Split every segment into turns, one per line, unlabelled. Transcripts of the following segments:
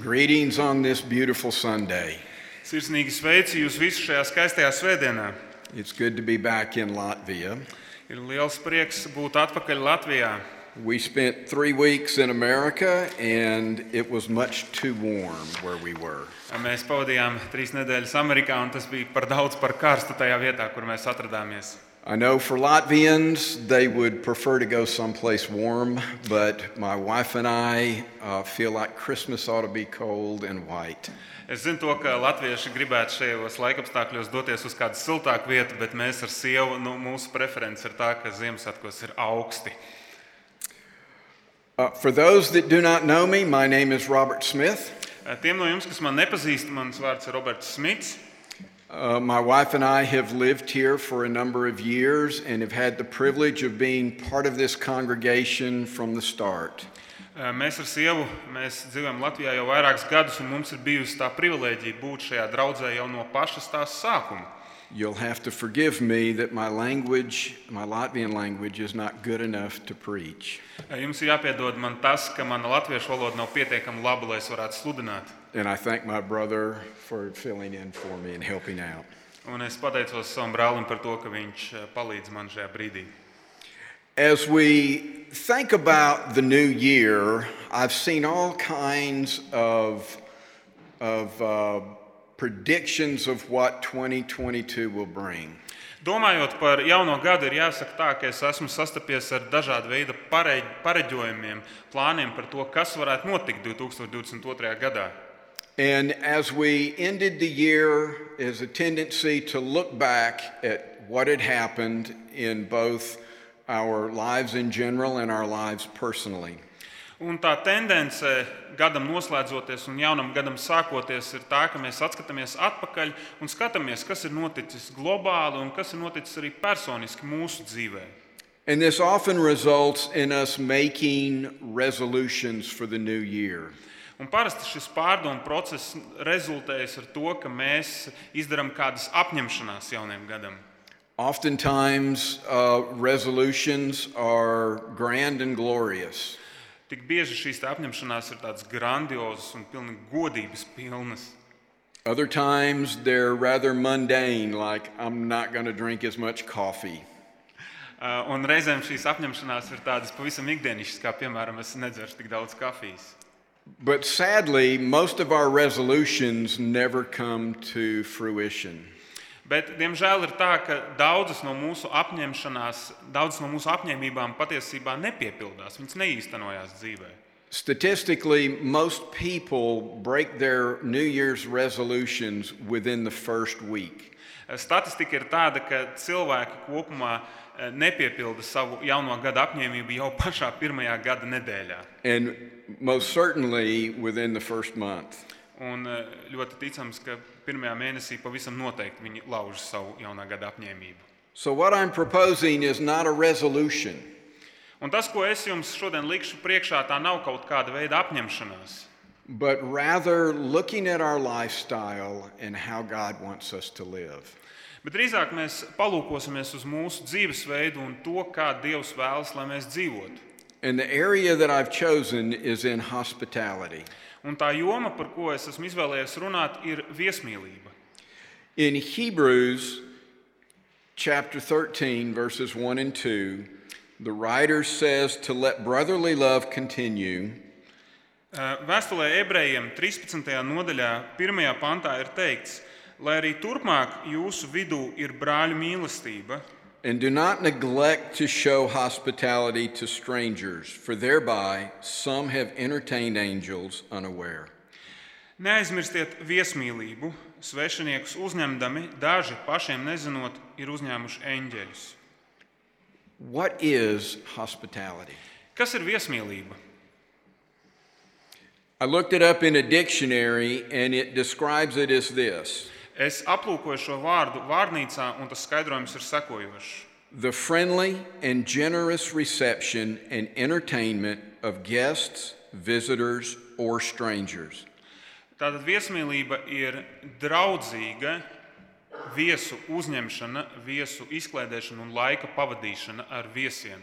Greetings on this beautiful Sunday.
Sirsnīgi sveicu jūs visus šajā skaistajā svētdienā.
It's good to be back in Latvia.
Ir liels prieks būt atpakaļ Latvijā.
We spent three weeks in America and it was much too warm where we were.
Mēs pavadījām trīs nedēļas Amerikā, un tas bija par daudz par karstu tajā vietā, kur mēs atrodāmies.
I know for Latvians, they would prefer to go someplace warm, but my wife and I uh, feel like Christmas ought to be cold and white.
Es zinu, to, ka latvieši gribētu šajos laikapstākļos doties uz kādu siltāku vietu, bet mēs ar sievu, nu, mūsu preference ir tā, ka Ziemassvētkos ir augsti.
Uh, for those that do not know me, my name is Robert Smith.
Tiem no jums, kas man nepazīst, mans vārds ir Roberts Smits.
Uh, my wife and I have lived here for a number of years and have had the privilege of being part of this congregation from the start.
Mēs ar sievu mēs dzīvojam Latvijā jau vairākus gadus, un mums ir bijusi tā privilēģija būt šajā draudzē jau no paša tās sākuma.
You'll have to forgive me that my language, my Latvian language, is not good enough to preach.
Jums ir jāpiedod man tas, ka mana latviešu valoda nav pietiekami laba, lai es varētu sludināt.
And I thank my brother for filling in for me and helping out.
Un es pateicos savam brālim par to, ka viņš eh, palīdz man šajā brīdī.
As we think about the new year, I've seen all kinds of, of uh, predictions of what 2022 will bring.
Domājot par jauno gadu, ir jāsaka tā, ka es esmu sastapies ar dažādu veidu parei- pareģojumiem, plāniem par to, kas varētu notikt 2022. gadā.
And as we ended the year, there's a tendency to look back at what had happened in both our lives in general and our lives personally.
Un tā tendence gadam noslēdzoties un jaunam gadam sākoties ir tā, ka mēs atskatāmies atpakaļ un skatāmies, kas ir noticis globāli un kas ir noticis arī personiski mūsu dzīvē.
And this often results in us making resolutions for the new year.
Un parasti šis pārdomu process rezultējas ar to, ka mēs izdarām kādas apņemšanās jaunajam gadam.
Oftentimes, uh, resolutions are grand and glorious.
Tik bieži šīs te apņemšanās ir tādas grandiozas un pilnīgi godības pilnas.
Other times, they're rather mundane, like, I'm not going to drink as much coffee.
Uh, Un reizēm šīs apņemšanās ir tādas pavisam ikdienišķas, kā piemēram, es nedzeršu tik daudz kafijas.
But sadly, most of our resolutions never come to fruition.
Bet, diemžēl, ir tā, ka daudzas no mūsu apņemšanās, daudzas no mūsu apņēmībām patiesībā nepiepildās, viņas neīstenojās dzīvē.
Statistically, most people break their New Year's resolutions within the first week.
Statistika ir tāda, ka cilvēki kopumā eh, nepiepilda savu jauno gada apņēmību jau pašā pirmajā gada nedēļā.
And most certainly within the first month.
Un eh, ļoti ticams, ka pirmajā mēnesī pavisam noteikti viņi lauž savu jaunā gada apņēmību.
So, what I'm proposing is not a resolution,
Un tas, ko es jums šodien likšu priekšā, tā nav kaut kāda veida apņemšanās.
but rather looking at our lifestyle and how God wants us to live.
Bet drīzāk mēs palūkosimies uz mūsu dzīvesveidu un to, kā Dievs vēlas, lai mēs dzīvotu.
And the area that I've chosen is in hospitality.
Un tā joma, par ko es esmu izvēlējies runāt, ir viesmīlība.
In Hebrews chapter 13, verses 1 and 2, the writer says to let brotherly love continue.
Eh, Vēstulē ebrejiem 13. nodaļā, 1. pantā ir teikts, lai arī turpmāk jūsu vidū ir brāļu mīlestība,
And do not neglect to show hospitality to strangers, for thereby some have entertained angels unaware.
neaizmirstiet viesmīlību. Svešiniekus uzņemdami, daži pašiem nezinot, ir uzņēmuši eņģeļus.
What is hospitality?
Kas ir viesmīlība?
I looked it up in a dictionary and it describes it as this
Es aplūkoju šo vārdu vārnīcā, un tas skaidrojums ir sekojošs.
the friendly and generous reception and entertainment of guests, visitors, or strangers.
Tātad viesmīlība ir draudzīga viesu uzņemšana, viesu izklaidēšana un laika pavadīšana ar viesiem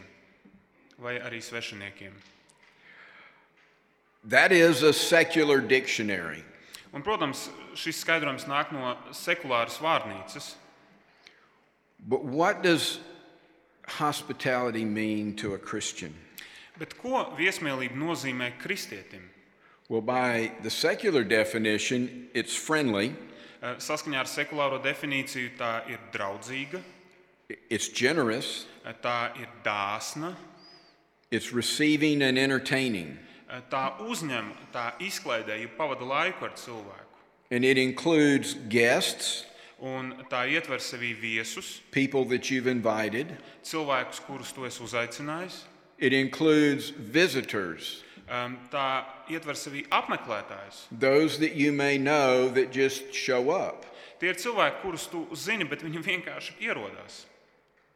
vai arī svešiniekiem.
That is a secular dictionary.
Un, protams, šis skaidrojums nāk no sekulāras vārnīcas.
But what does hospitality mean to a Christian?
Bet ko viesmīlība nozīmē kristietim?
Well, by the secular definition, it's friendly,
Eh, Saskaņā ar sekulāro definīciju tā ir draudzīga,
it's generous,
eh, tā ir dāsna,
it's receiving and entertaining,
eh, tā uzņem, tā izklaidē, ja pavada laiku ar cilvēku.
and it includes guests,
Un tā ietver sevī viesus,
people that you've invited,
cilvēkus, kurus tu esi uzaicinājis.
it includes visitors,
Em, Tā ietver sevī apmeklētājus.
those that you may know that just show up.
Tie ir cilvēki, kurus tu zini, bet viņi vienkārši ierodās.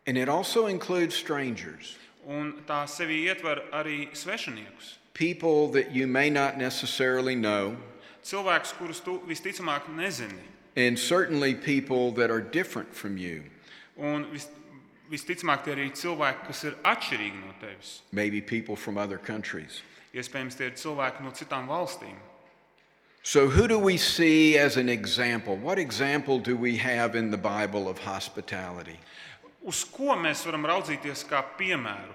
And it also includes strangers,
Un tā sevī ietver arī svešiniekus.
people that you may not necessarily know,
Cilvēkus, kurus tu visticamāk nezini.
and certainly people that are different from you.
Un vis, visticamāk, tie ir arī cilvēki, kas ir atšķirīgi no tevis.
maybe people from other countries.
Iespējams, tie ir cilvēki no citām valstīm.
So, who do we see as an example? What example do we have in the Bible of hospitality?
Uz ko mēs varam raudzīties kā piemēru?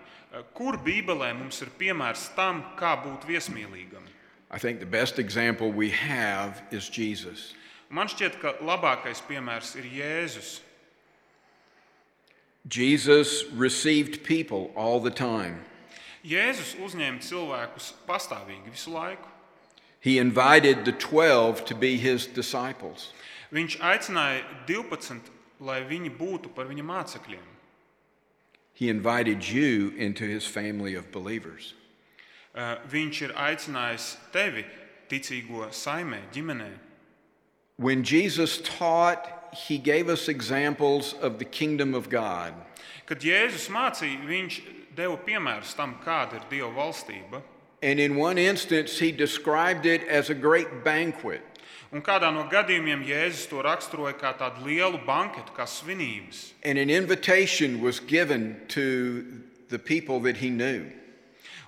Kur Bībelē mums ir piemērs tam, kā būt viesmīlīgam?
I think the best example we have is Jesus.
Man šķiet, ka labākais piemērs ir Jēzus.
Jesus received people all the time,
Jēzus uzņēma cilvēkus pastāvīgi visu laiku.
he invited the 12 to be his disciples.
Viņš aicināja 12, lai viņi būtu par viņa mācekļiem.
He invited you into his family of believers.
Eh, Viņš ir aicinājis tevi, ticīgo saimē, ģimenē.
When Jesus taught, he gave us examples of the kingdom of God.
Kad Jēzus mācīja, viņš deva piemērus tam, kāda ir Dieva valstība.
And in one instance, he described it as a great banquet.
Un kādā no gadījumiem Jēzus to raksturoja kā tādu lielu banketu, kā svinības.
And an invitation was given to the people that he knew.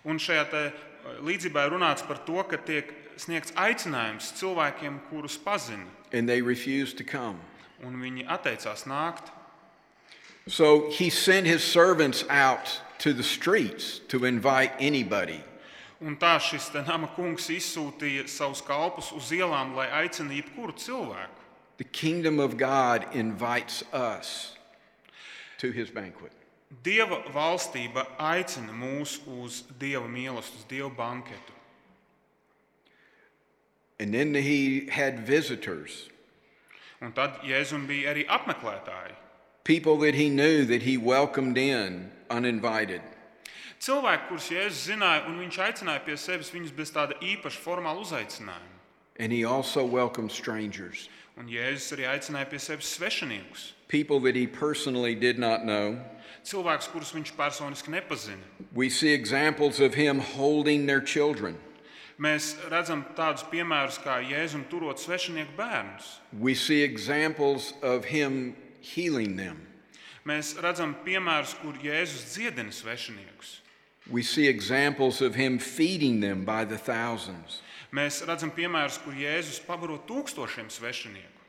Un šajā te, eh, līdzībā ir runāts par to, ka tiek sniegts aicinājums cilvēkiem, kurus pazina,
And they refused to come.
un viņi atteicās nākt.
So he sent his servants out to the streets to invite anybody.
Un tā šis te nama kungs izsūtīja savus kalpus uz ielām, lai aicinātu jebkuru cilvēku.
The kingdom of God invites us to his banquet.
Dieva valstība aicina mūs uz dieva mīlestību, uz dieva banketu.
And then he had visitors,
Un tad Jēzum bija arī apmeklētāji.
people that he knew that he welcomed in uninvited.
Cilvēki, kurus Jēzus zināja, un viņš aicināja pie sevis viņus bez tāda īpaša formāla uzaicinājuma.
And he also welcomed strangers,
Un Jēzus arī aicināja pie sevis svešiniekus,
people that he personally did not know.
cilvēkus, kurus viņš personiski nepazina.
We see examples of him holding their children.
Mēs redzam tādus piemērus, kā Jēzum turot svešinieku bērnus.
We see examples of him healing them.
Mēs redzam piemērus, kur Jēzus dziedina svešiniekus.
We see examples of him feeding them by the thousands.
Mēs redzam piemērus, kur Jēzus pabaro tūkstošiem svešinieku.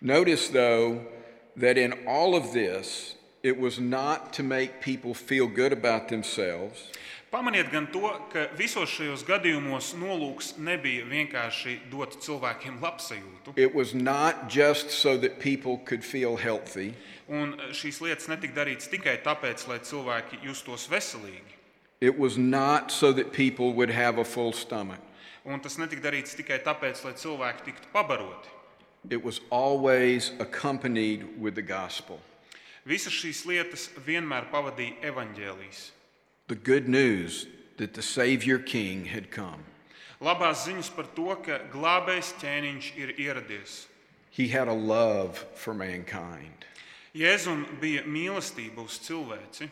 Notice, though, that in all of this, it was not to make people feel good about themselves,
Pamaniet gan to, ka visos šajos gadījumos nolūks nebija vienkārši dot cilvēkiem labsajūtu,
it was not just so that people could feel healthy,
un e, šīs lietas netika darītas tikai tāpēc, lai cilvēki justos veselīgi.
it was not so that people would have a full stomach.
Un tas netika darīts tikai tāpēc, lai cilvēki tiktu pabaroti.
It was always accompanied with the gospel.
Visas šīs lietas vienmēr pavadīja evaņģēlijas.
the good news that the Savior King had come.
Labās ziņas par to, ka glābējs ķēniņš ir ieradies.
He had a love for mankind.
Jēzum bija mīlestība uz cilvēci.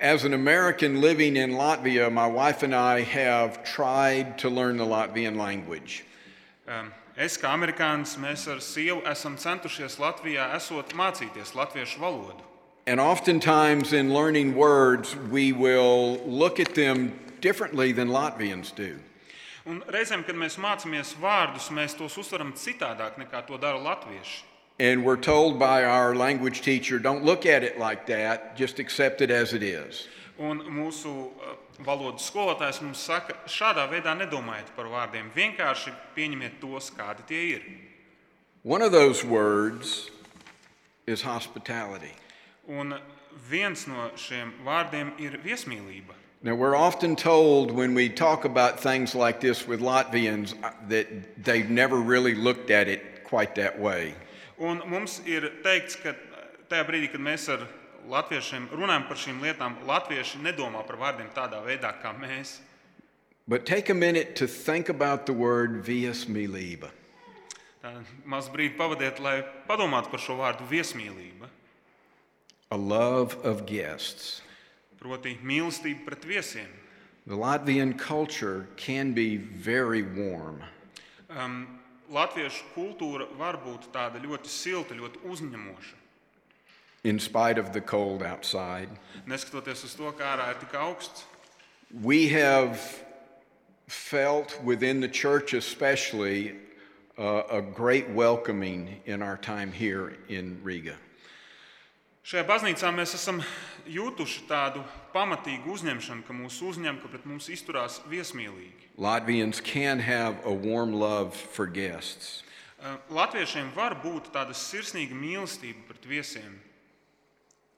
As an American living in Latvia, my wife and I have tried to learn the Latvian language.
Um, Es kā amerikānis, mēs ar sievu esam centušies Latvijā esot mācīties latviešu valodu.
And oftentimes in learning words, we will look at them differently than Latvians do.
Un reizēm, kad mēs mācāmies vārdus, mēs tos uztveram citādāk nekā to dara latvieši.
And we're told by our language teacher, don't look at it like that, just accept it as it is.
Un mūsu eh, valodas skolotājs mums saka, šādā veidā nedomājiet par vārdiem. Vienkārši pieņemiet tos, kādi tie ir.
One of those words is hospitality.
Un viens no šiem vārdiem ir viesmīlība.
Now, we're often told when we talk about things like this with Latvians uh, that they've never really looked at it quite that way.
Un mums ir teikts, ka eh, tajā brīdī, kad mēs ar latviešiem runājam par šīm lietām, latvieši nedomā par vārdiem tādā veidā, kā mēs.
But take a minute to think about the word viesmīlība.
Tātad Maz brīdi pavadiet, lai padomātu par šo vārdu viesmīlība.
a love of guests.
Proti, mīlestība pret viesiem.
The Latvian culture can be very warm.
Um, latviešu kultūra var būt tāda ļoti silta, ļoti uzņemoša.
In spite of the cold outside,
Neskatoties uz to, kā ārā ir tik augsts,
we have felt within the church, especially, uh, a great welcoming in our time here in Riga.
šajā baznīcā mēs esam jutuši tādu pamatīgu uzņemšanu, ka mūsu uzņem, ka pret mums izturās viesmīlīgi.
Latvians can have a warm love for guests.
Uh, Latviešiem var būt tāda sirsnīga mīlestība pret viesiem.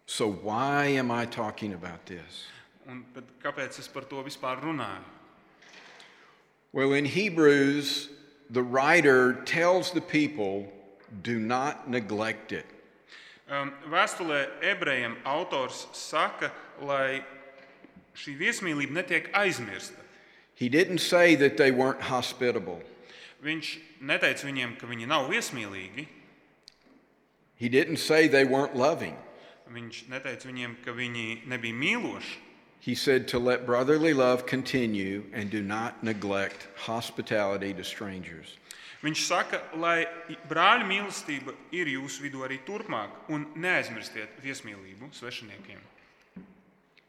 So, why am I talking about this?
Un tad kāpēc es par to vispār runāju?
Well, in Hebrews, the writer tells the people, do not neglect it.
Um, Vēstulē ebrejiem autors saka, lai šī viesmīlība netiek aizmirsta.
He didn't say that they weren't hospitable.
Viņš neteica viņiem, ka viņi nav viesmīlīgi.
He didn't say they weren't loving.
Viņš neteica viņiem, ka viņi nebija mīloši.
He said to let brotherly love continue and do not neglect hospitality to strangers.
Viņš saka, lai brāļa mīlestība ir jūsu vidū arī turpmāk, un neaizmirstiet viesmīlību svešiniekiem.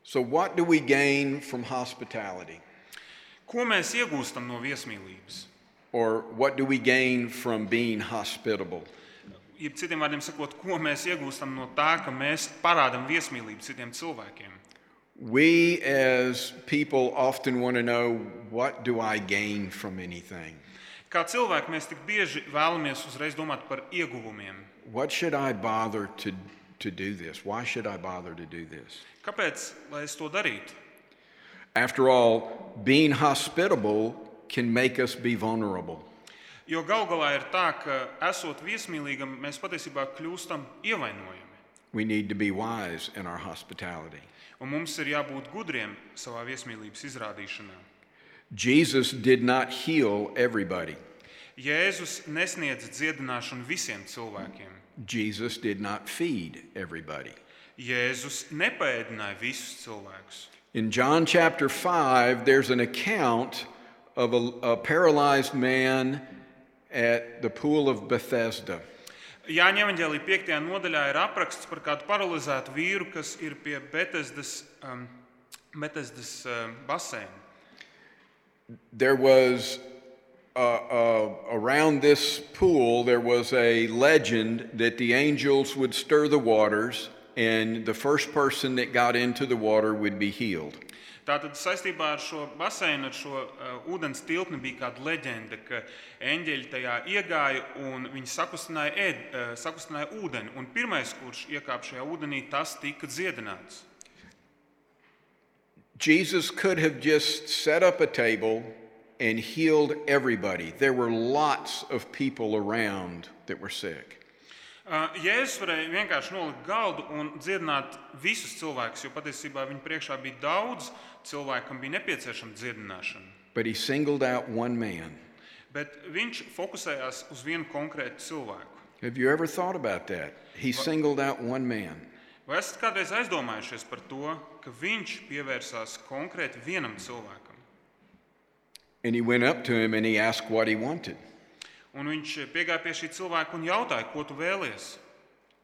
So, what do we gain from hospitality?
Ko mēs iegūstam no viesmīlības?
Or what do we gain from being hospitable?
Jeb citiem vārdiem sakot, ko mēs iegūstam no tā, ka mēs parādām viesmīlību citiem cilvēkiem.
We as people often want to know what do I gain from anything?
Kā cilvēki mēs tik bieži vēlamies uzreiz domāt par ieguvumiem.
What should I bother to, to do this? Why should I bother to do this?
Kāpēc lai es to darītu?
After all, being hospitable can make us be vulnerable.
Jo galu galā ir tā, ka esot viesmīlīgam, mēs patiesībā kļūstam ievainojami.
We need to be wise in our hospitality.
Un mums ir jābūt gudriem savā viesmīlības izrādīšanā.
Jesus did not heal everybody,
Jēzus nesniedz dziedināšanu visiem cilvēkiem.
Jesus did not feed everybody.
Jēzus nepaēdināja visus cilvēkus.
In John chapter 5, there's an account of a, a paralyzed man at the pool of Bethesda.
Jāņa Evanģēlī 5. nodaļā ir apraksts par kādu paralizētu vīru, kas ir pie Betesdas, um, Betesdas um, basēna.
There was uh, uh, around this pool, there was a legend that the angels would stir the waters, and the first person that got into the water would be healed.
Tātad saistībā ar šo basēnu, ar šo uh, ūdens tilpni bija kāda leģenda, ka eņģeļi tajā iegāja un viņi sakustināja, ēd, uh, sakustināja ūdeni. Un pirmais, kurš iekāpa šajā ūdenī, tas tika dziedināts.
Jesus could have just set up a table and healed everybody. There were lots of people around that were sick.
Uh, Jēzus varēja vienkārši nolikt galdu un dziedināt visus cilvēkus, jo patiesībā viņa priekšā bija daudz cilvēku, kam bija nepieciešama dziedināšana.
But he singled out one man.
Bet viņš fokusējās uz vienu konkrētu cilvēku.
Have you ever thought about that? He singled out one man.
Vai esat kādreiz aizdomājušies par to, ka viņš pievērsās konkrēti vienam cilvēkam?
And he went up to him and he asked what he wanted.
Un viņš piegāja pie šī cilvēka un jautāja, ko tu vēlies.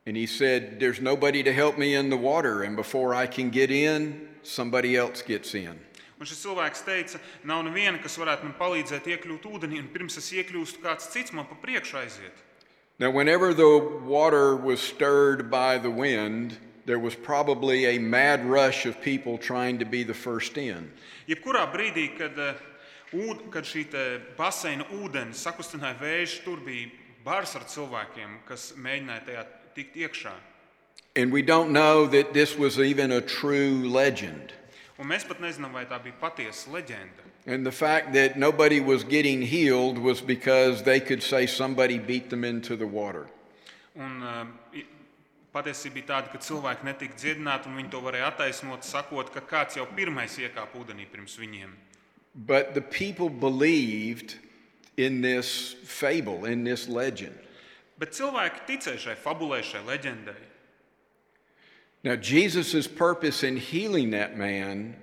And he said, There's nobody to help me in the water, and before I can get in, somebody else gets in.
Un Un šis cilvēks teica, nav neviena, kas varētu man palīdzēt iekļūt ūdenī, un pirms es iekļūstu, kāds cits man pa priekšu aiziet.
Now, whenever the water was stirred by the wind, there was probably a mad rush of people trying to be the first in.
Jebkurā brīdī, kad, eh, ūd- kad šī te baseina ūdeni sakustināja vēju, tur bija bars ar cilvēkiem, kas mēģināja tajā tikt iekšā.
And we don't know that this was even a true legend.
Un mēs pat nezinām, vai tā bija patiesa leģenda.
And the fact that nobody was getting healed was because they could say somebody beat them into the water.
Un, eh, i- patiesība bija tāda, ka cilvēki netika dziedināti, un viņi to varēja attaisnot, sakot, ka kāds jau pirmais iekāpa ūdenī pirms viņiem.
But the people believed in this fable, in this legend.
Bet cilvēki ticēja šai fabulē, šai leģendai.
Now, Jesus' purpose in healing that man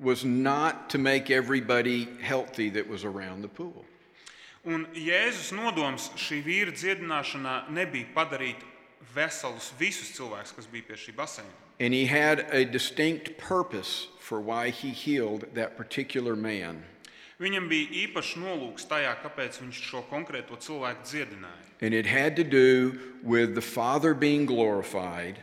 was not to make everybody healthy that was around the pool.
Un Jēzus nodoms šī vīra dziedināšanā nebija padarīt veselus visus cilvēkus, kas bija pie šī basēna.
And he had a distinct purpose for why he healed that particular man.
Viņam bija īpašs nolūks tajā, kāpēc viņš šo konkrēto cilvēku dziedināja.
And it had to do with the Father being glorified,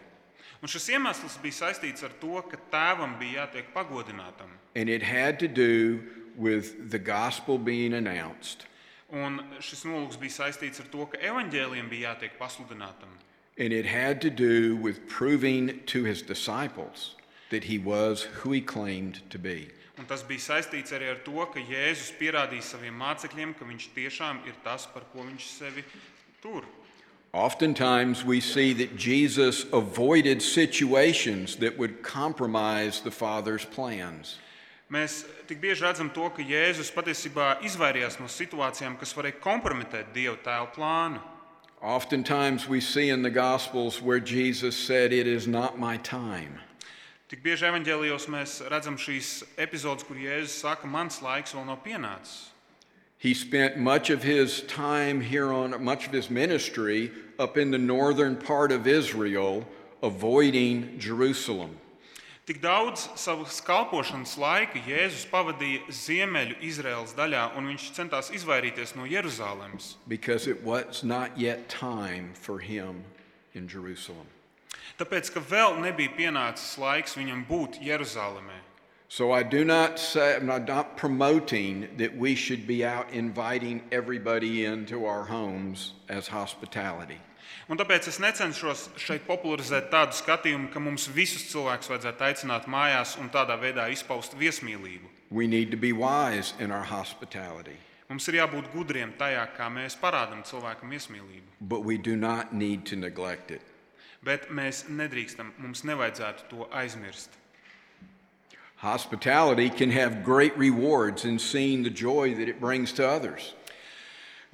Un šis iemesls bija saistīts ar to, ka tēvam bija jātiek pagodinātam.
and it had to do with the gospel being announced,
Un šis nolūks bija saistīts ar to, ka evaņģēliem bija jātiek pasludinātam.
and it had to do with proving to his disciples that he was who he claimed to be.
Un tas bija saistīts arī ar to, ka Jēzus pierādīja saviem mācekļiem, ka viņš tiešām ir tas, par ko viņš sevi tur.
Oftentimes, we see that Jesus avoided situations that would compromise the Father's plans.
Mēs tik bieži redzam to, ka Jēzus patiesībā izvairījās no situācijām, kas varēja kompromitēt Dieva tēva plānu.
Oftentimes, we see in the Gospels where Jesus said, It is not my time.
Tik bieži evanģēlijos mēs redzam šīs epizodes, kur Jēzus saka, mans laiks vēl nav pienācis.
He spent much of his time here on, much of his ministry up in the northern part of Israel, avoiding Jerusalem.
Tik daudz savas kalpošanas laika Jēzus pavadīja ziemeļu Izraēlas daļā, un viņš centās izvairīties no Jeruzalemes.
because it was not yet time for him in Jerusalem.
Tāpēc, ka vēl nebija pienācis laiks viņam būt Jeruzalemē.
So I do not say, I'm not- not promoting that we should be out inviting everybody into our homes as hospitality.
Un tāpēc es necenšos šeit popularizēt tādu skatījumu, ka mums visus cilvēkus vajadzētu aicināt mājās un tādā veidā izpaust viesmīlību.
We need to be wise in our hospitality,
Mums ir jābūt gudriem tajā, kā mēs parādām cilvēkam viesmīlību.
but we do not need to neglect it.
Bet mēs nedrīkstam, mums nevajadzētu to aizmirst.
Hospitality can have great rewards in seeing the joy that it brings to others.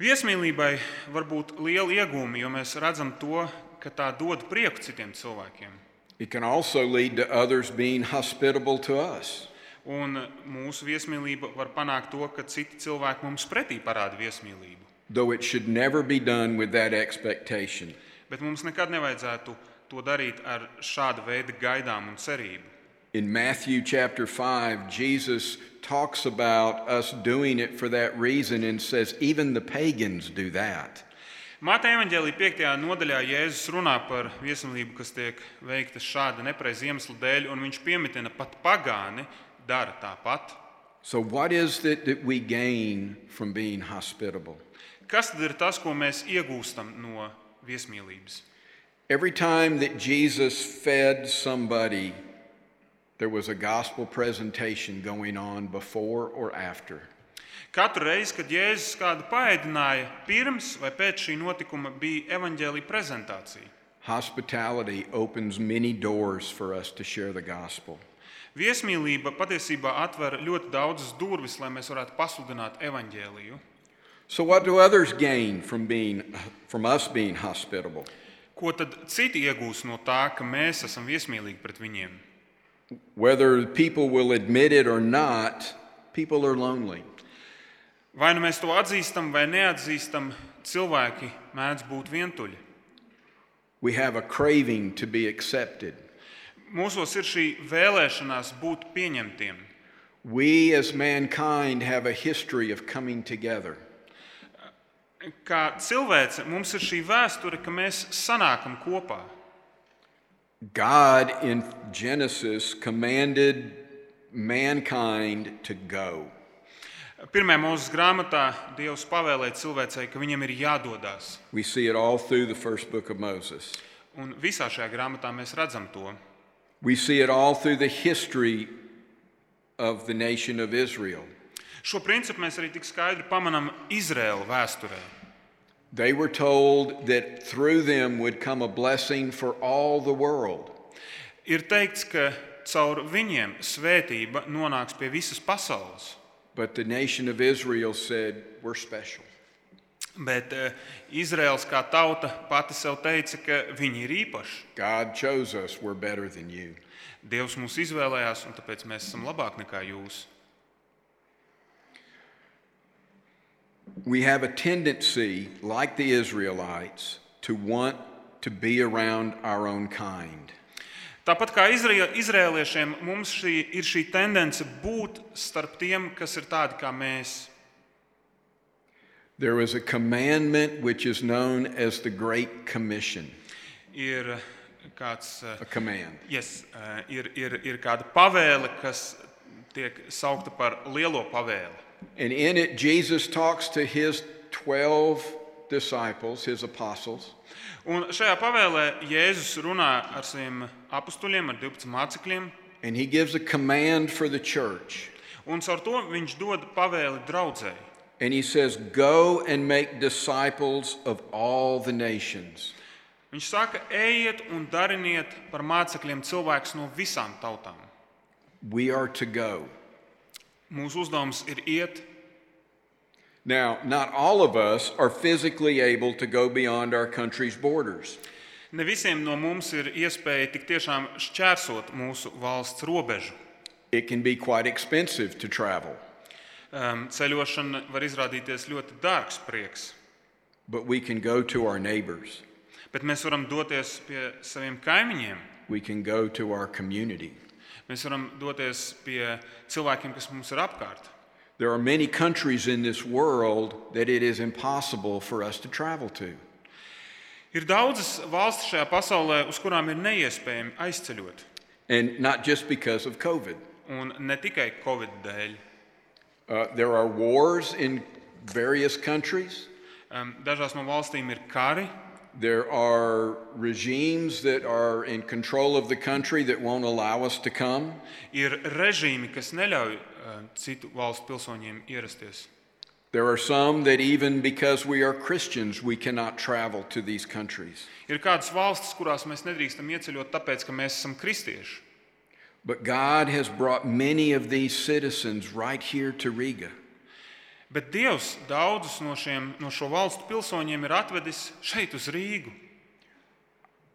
Viesmīlībai var būt liela iegūme, jo mēs redzam to, ka tā dod prieku citiem cilvēkiem.
It can also lead to others being hospitable to us.
Un mūsu viesmīlība var panākt to, ka citi cilvēki mums pretī parāda viesmīlību.
though it should never be done with that expectation.
Bet mums nekad nevajadzētu to darīt ar šādu veidu gaidām un cerību.
In Matthew chapter 5, Jesus talks about us doing it for that reason and says, even the pagans do that.
Mātei evanģēlī 5. nodaļā Jēzus runā par viesmīlību, kas tiek veikta šāda nepareiza iemesla dēļ, un viņš pieminēja, ka pat pagāni dara tāpat.
So, what is it that we gain from being hospitable?
Kas tad ir tas, ko mēs iegūstam no viesmīlības?
Every time that Jesus fed somebody, there was a gospel presentation going on before or after.
Katru reizi, kad Jēzus kādu paēdināja, pirms vai pēc šī notikuma bija evanģēlīja prezentācija.
Hospitality opens many doors for us to share the gospel.
Viesmīlība patiesībā atver ļoti daudzas durvis, lai mēs varētu pasludināt evanģēliju.
So what do others gain from being from us being hospitable?
Ko tad citi iegūs no tā, ka mēs esam viesmīlīgi pret viņiem?
Whether people will admit it or not, people are lonely.
Vai nu mēs to atzīstam vai neatzīstam, cilvēki mēdz būt vientuļi.
We have a craving to be accepted.
Mūsos ir šī vēlēšanās būt pieņemtiem.
We as mankind have a history of coming together.
Kā cilvēce mums ir šī vēsture, ka mēs sanākam kopā.
God in Genesis commanded mankind to go.
Pirmā mūža grāmatā Dievs pavēlēja cilvēcei, ka viņam ir jādodas.
We see it all through the first book of Moses.
Un visā šajā grāmatā mēs redzam to.
We see it all through the history of the nation of Israel.
Šo principu mēs arī tik skaidri pamanām Izraēlas vēsturē.
They were told that through them would come a blessing for all the world.
Ir teikts, ka caur viņiem svētība nonāks pie visas pasaules,
But the nation of Israel said, We're special.
bet eh, Izraēls kā tauta pati sev teica, ka viņi ir īpaši.
God chose us, we're better than you.
Dievs mūs izvēlējās, un tāpēc mēs esam labāki nekā jūs.
We have a tendency, like the Israelites, to want to be around our own kind.
Tāpat kā izra- izrēliešiem, mums šī, ir šī tendence būt starp tiem, kas ir tādi kā mēs.
There is a commandment which is known as the Great Commission,
Ir kāds eh,
a command.
Yes, eh, ir, ir, ir kāda pavēle, kas tiek saukta par lielo pavēli.
And in it, Jesus talks to his 12 disciples, his apostles,
Un šajā pavēlē Jēzus runā ar saviem apstuļiem, ar 12 mācekļiem,
and he gives a command for the church.
un caur to viņš dod pavēli draudzēji.
And he says, Go and make disciples of all the nations,
Viņš saka, ejiet un dariniet par mācekļiem cilvēkus no visām tautām.
we are to go.
Mūsu uzdevums ir iet.
Now, not all of us are physically able to go beyond our country's borders.
Ne visiem no mums ir iespēja tik tiešām šķērsot mūsu valsts robežu.
It can be quite expensive to travel,
Em, Ehm, Ceļošana var izrādīties ļoti dārgs prieks.
but we can go to our neighbors,
Bet mēs varam doties pie saviem kaimiņiem.
we can go to our community.
Mēs varam doties pie cilvēkiem, kas mums ir apkārt.
There are many countries in this world that it is impossible for us to travel to.
Ir daudzas valstis šajā pasaulē, uz kurām ir neiespējami aizceļot.
And not just because of COVID.
Un ne tikai Covid dēļ.
Uh, there are wars in various countries,
Em, Ehm, Dažās no valstīm ir kari,
there are regimes that are in control of the country that won't allow us to come.
ir režīmi, kas neļauj em, citu valstu pilsoņiem ierasties.
There are some that, even because we are Christians, we cannot travel to these countries.
Ir kādas valstis, kurās mēs nedrīkstam ieceļot, tāpēc, ka mēs esam kristieši.
But God has brought many of these citizens right here to Riga.
Bet Dievs daudzus no, šiem, no šo valstu pilsoņiem ir atvedis šeit uz Rīgu.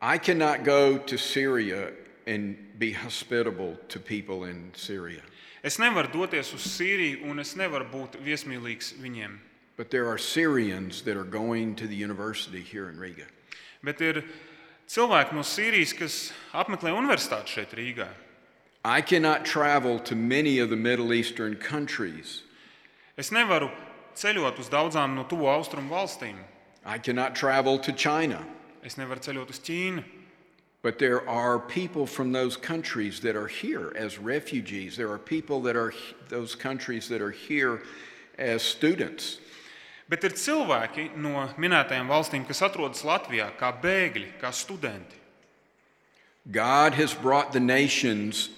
I cannot go to Syria and be hospitable to people in Syria,
Es nevaru doties uz Sīriju, un es nevaru būt viesmīlīgs viņiem.
but there are Syrians that are going to the university here in Riga.
Bet ir cilvēki no Sīrijas, kas apmeklē universitāti šeit, Rīgā.
I cannot travel to many of the Middle Eastern countries.
Es nevaru ceļot uz daudzām no tuvo austrumu valstīm.
I cannot travel to China,
Es nevaru ceļot uz Ķīnu.
but there are people from those countries that are here as refugees. There are people that are those countries that are here as students.
Bet ir cilvēki no minētajām valstīm, kas atrodas Latvijā kā bēgļi, kā studenti.
God has brought the nations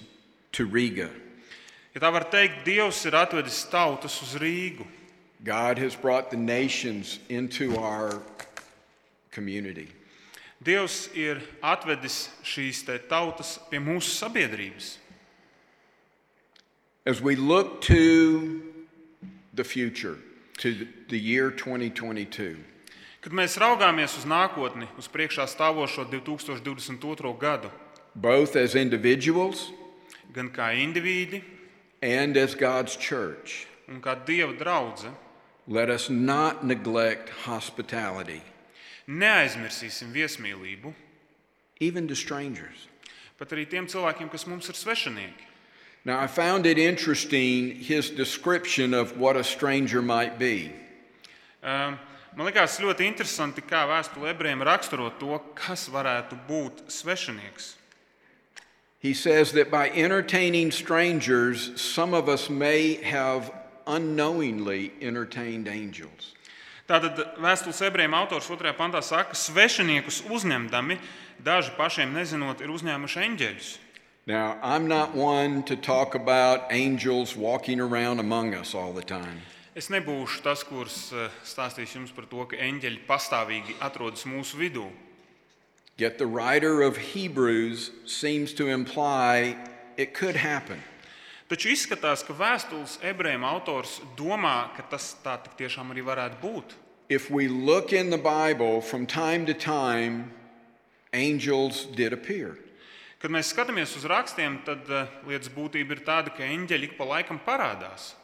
to Riga.
Ja tā var teikt, Dievs ir atvedis tautas uz Rīgu.
God has brought the nations into our community.
Dievs ir atvedis šīs te tautas pie mūsu sabiedrības.
As we look to the future, to the- the year 2022,
Kad mēs raugāmies uz nākotni, uz priekšā stāvošo 2022. gadu,
both as individuals
gan kā indivīdi,
and as God's church,
gan kā dieva draudzene,
let us not neglect hospitality,
neaizmirsīsim viesmīlību
even to strangers.
pat arī tiem cilvēkiem, kas mums ir svešinieki.
Now, I found it interesting his description of what a stranger might be.
Um, Man liekas, ļoti interesanti, kā vēstule ebrejiem raksturo to, kas varētu būt svešinieks.
He says that by entertaining strangers, some of us may have unknowingly entertained angels.
Tātad vēstules ebrejiem autors 2. pantā saka, ka svešiniekus uzņemdami daži pašiem nezinot ir uzņēmuši eņģeļus.
Now, I'm not one to talk about angels walking around among us all the time.
Es nebūšu tas, kurš eh, stāstīs jums par to, ka eņģeļi pastāvīgi atrodas mūsu vidū.
Yet the writer of Hebrews seems to imply it could happen.
Taču izskatās, ka vēstules ebrejiem autors domā, ka tas tā tik tiešām arī varētu būt.
If we look in the Bible from time to time, angels did appear.
Kad mēs skatāmies uz rakstiem, tad eh, lietas būtība ir tāda, ka eņģeļi ik pa laikam parādās.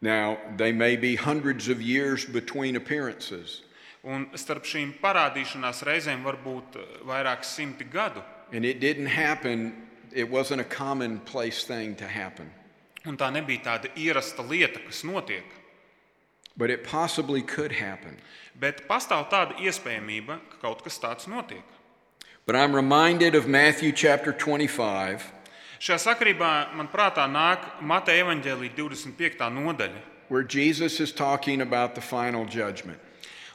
Now, they may be hundreds of years between appearances,
Un starp šīm parādīšanās reizēm var būt eh, vairāki simti gadu.
and it didn't happen, it wasn't a commonplace thing to happen.
Un tā nebija tāda ierasta lieta, kas notiek.
But it possibly could happen.
Bet pastāv tāda iespējamība, ka kaut kas tāds notiek.
But I'm reminded of Matthew chapter 25,
Šajā sakarībā man prātā nāk Mateja evanģēlīja 25. nodaļa.
where Jesus is talking about the final judgment.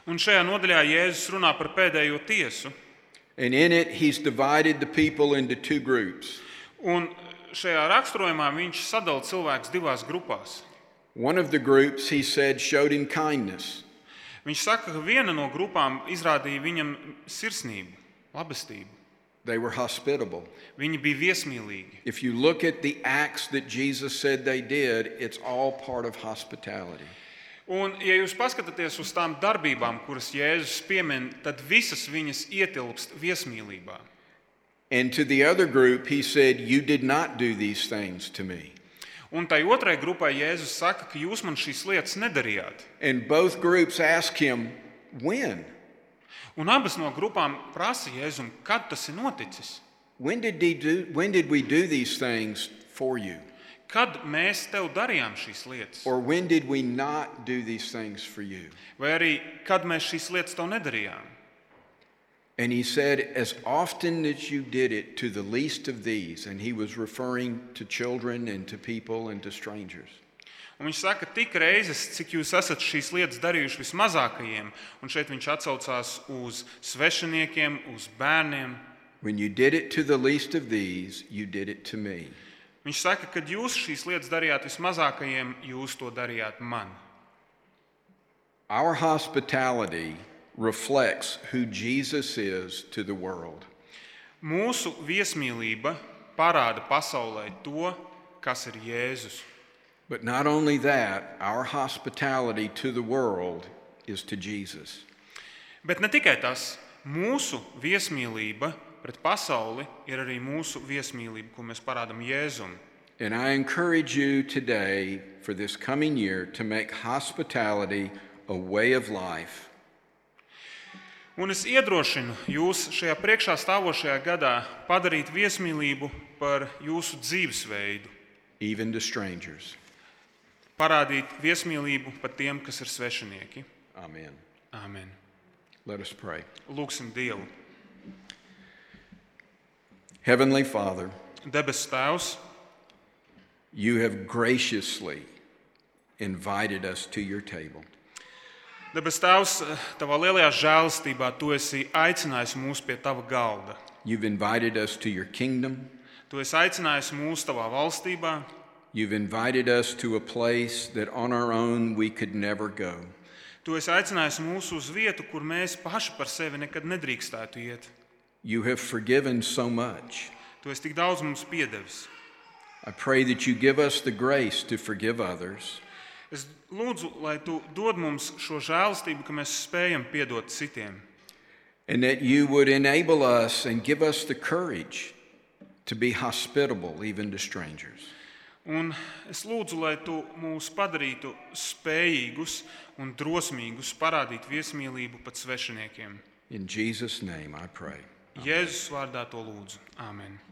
Un šajā nodaļā Jēzus runā par pēdējo tiesu.
And in it, he's divided the people into two groups.
Un šajā raksturojumā viņš sadala cilvēkus divās grupās.
One of the groups, he said, showed him kindness,
Viņš saka, ka viena no grupām izrādīja viņam sirsnību, labestību.
they were hospitable.
Viņi bija viesmīlīgi.
If you look at the acts that Jesus said they did, it's all part of hospitality.
Un, ja jūs paskatāties uz tām darbībām, kuras Jēzus piemin, tad visas viņas ietilpst viesmīlībā.
And to the other group, he said, You did not do these things to me.
Un tai otrai grupai Jēzus saka, ka jūs man šīs lietas nedarījāt.
And both groups ask him, When?
Un abas no grupām prasa Jēzum, kad tas ir noticis.
When did, he do, when did we do these things for you?
Kad mēs tev darījām šīs lietas,
Or when did we not do these things for you?
vai arī kad mēs šīs lietas tev nedarījām?
And he said, As often as you did it to the least of these, and he was referring to children and to people and to strangers.
Un viņš saka, tik reizes, cik jūs esat šīs lietas darījuši vismazākajiem, un šeit viņš atsaucās uz svešiniekiem, uz bērniem.
When you did it to the least of these, you did it to me.
Viņš saka, kad jūs šīs lietas darījāt vismazākajiem, jūs to darījāt man.
Our hospitality reflects who Jesus is to the world.
Mūsu viesmīlība parāda pasaulē to, kas ir Jēzus.
But not only that, our hospitality to the world is to Jesus.
Bet ne tikai tas, mūsu viesmīlība pret pasauli ir arī mūsu viesmīlība, ko mēs parādām Jēzum.
And I encourage you today for this coming year to make hospitality a way of life.
Un es iedrošinu jūs šajā priekšā stāvošajā gadā padarīt viesmīlību par jūsu dzīvesveidu,
even to strangers.
parādīt viesmīlību pat tiem, kas ir svešinieki.
Amen.
Āmen.
Let us pray.
Lūksim Dievu.
Heavenly Father,
Debes Tēvs,
you have graciously invited us to your table.
Debes Tēvs, tavā lielajā žēlastībā tu esi aicinājis mūs pie tava galda.
You've invited us to your kingdom.
Tu esi aicinājis mūs tavā valstībā,
You've invited us to a place that on our own we could never go.
tu esi aicinājis mūs uz vietu, kur mēs paši par sevi nekad nedrīkstētu iet.
You have forgiven so much.
Tu esi tik daudz mums piedevis.
I pray that you give us the grace to forgive others
Es lūdzu, lai tu dod mums šo žēlastību, ka mēs spējam piedot citiem,
and that you would enable us and give us the courage to be hospitable even to strangers.
un es lūdzu, lai tu mūs padarītu spējīgus un drosmīgus parādīt viesmīlību pat svešiniekiem.
In Jesus' name I pray.
Jēzus vārdā to lūdzu. Āmen!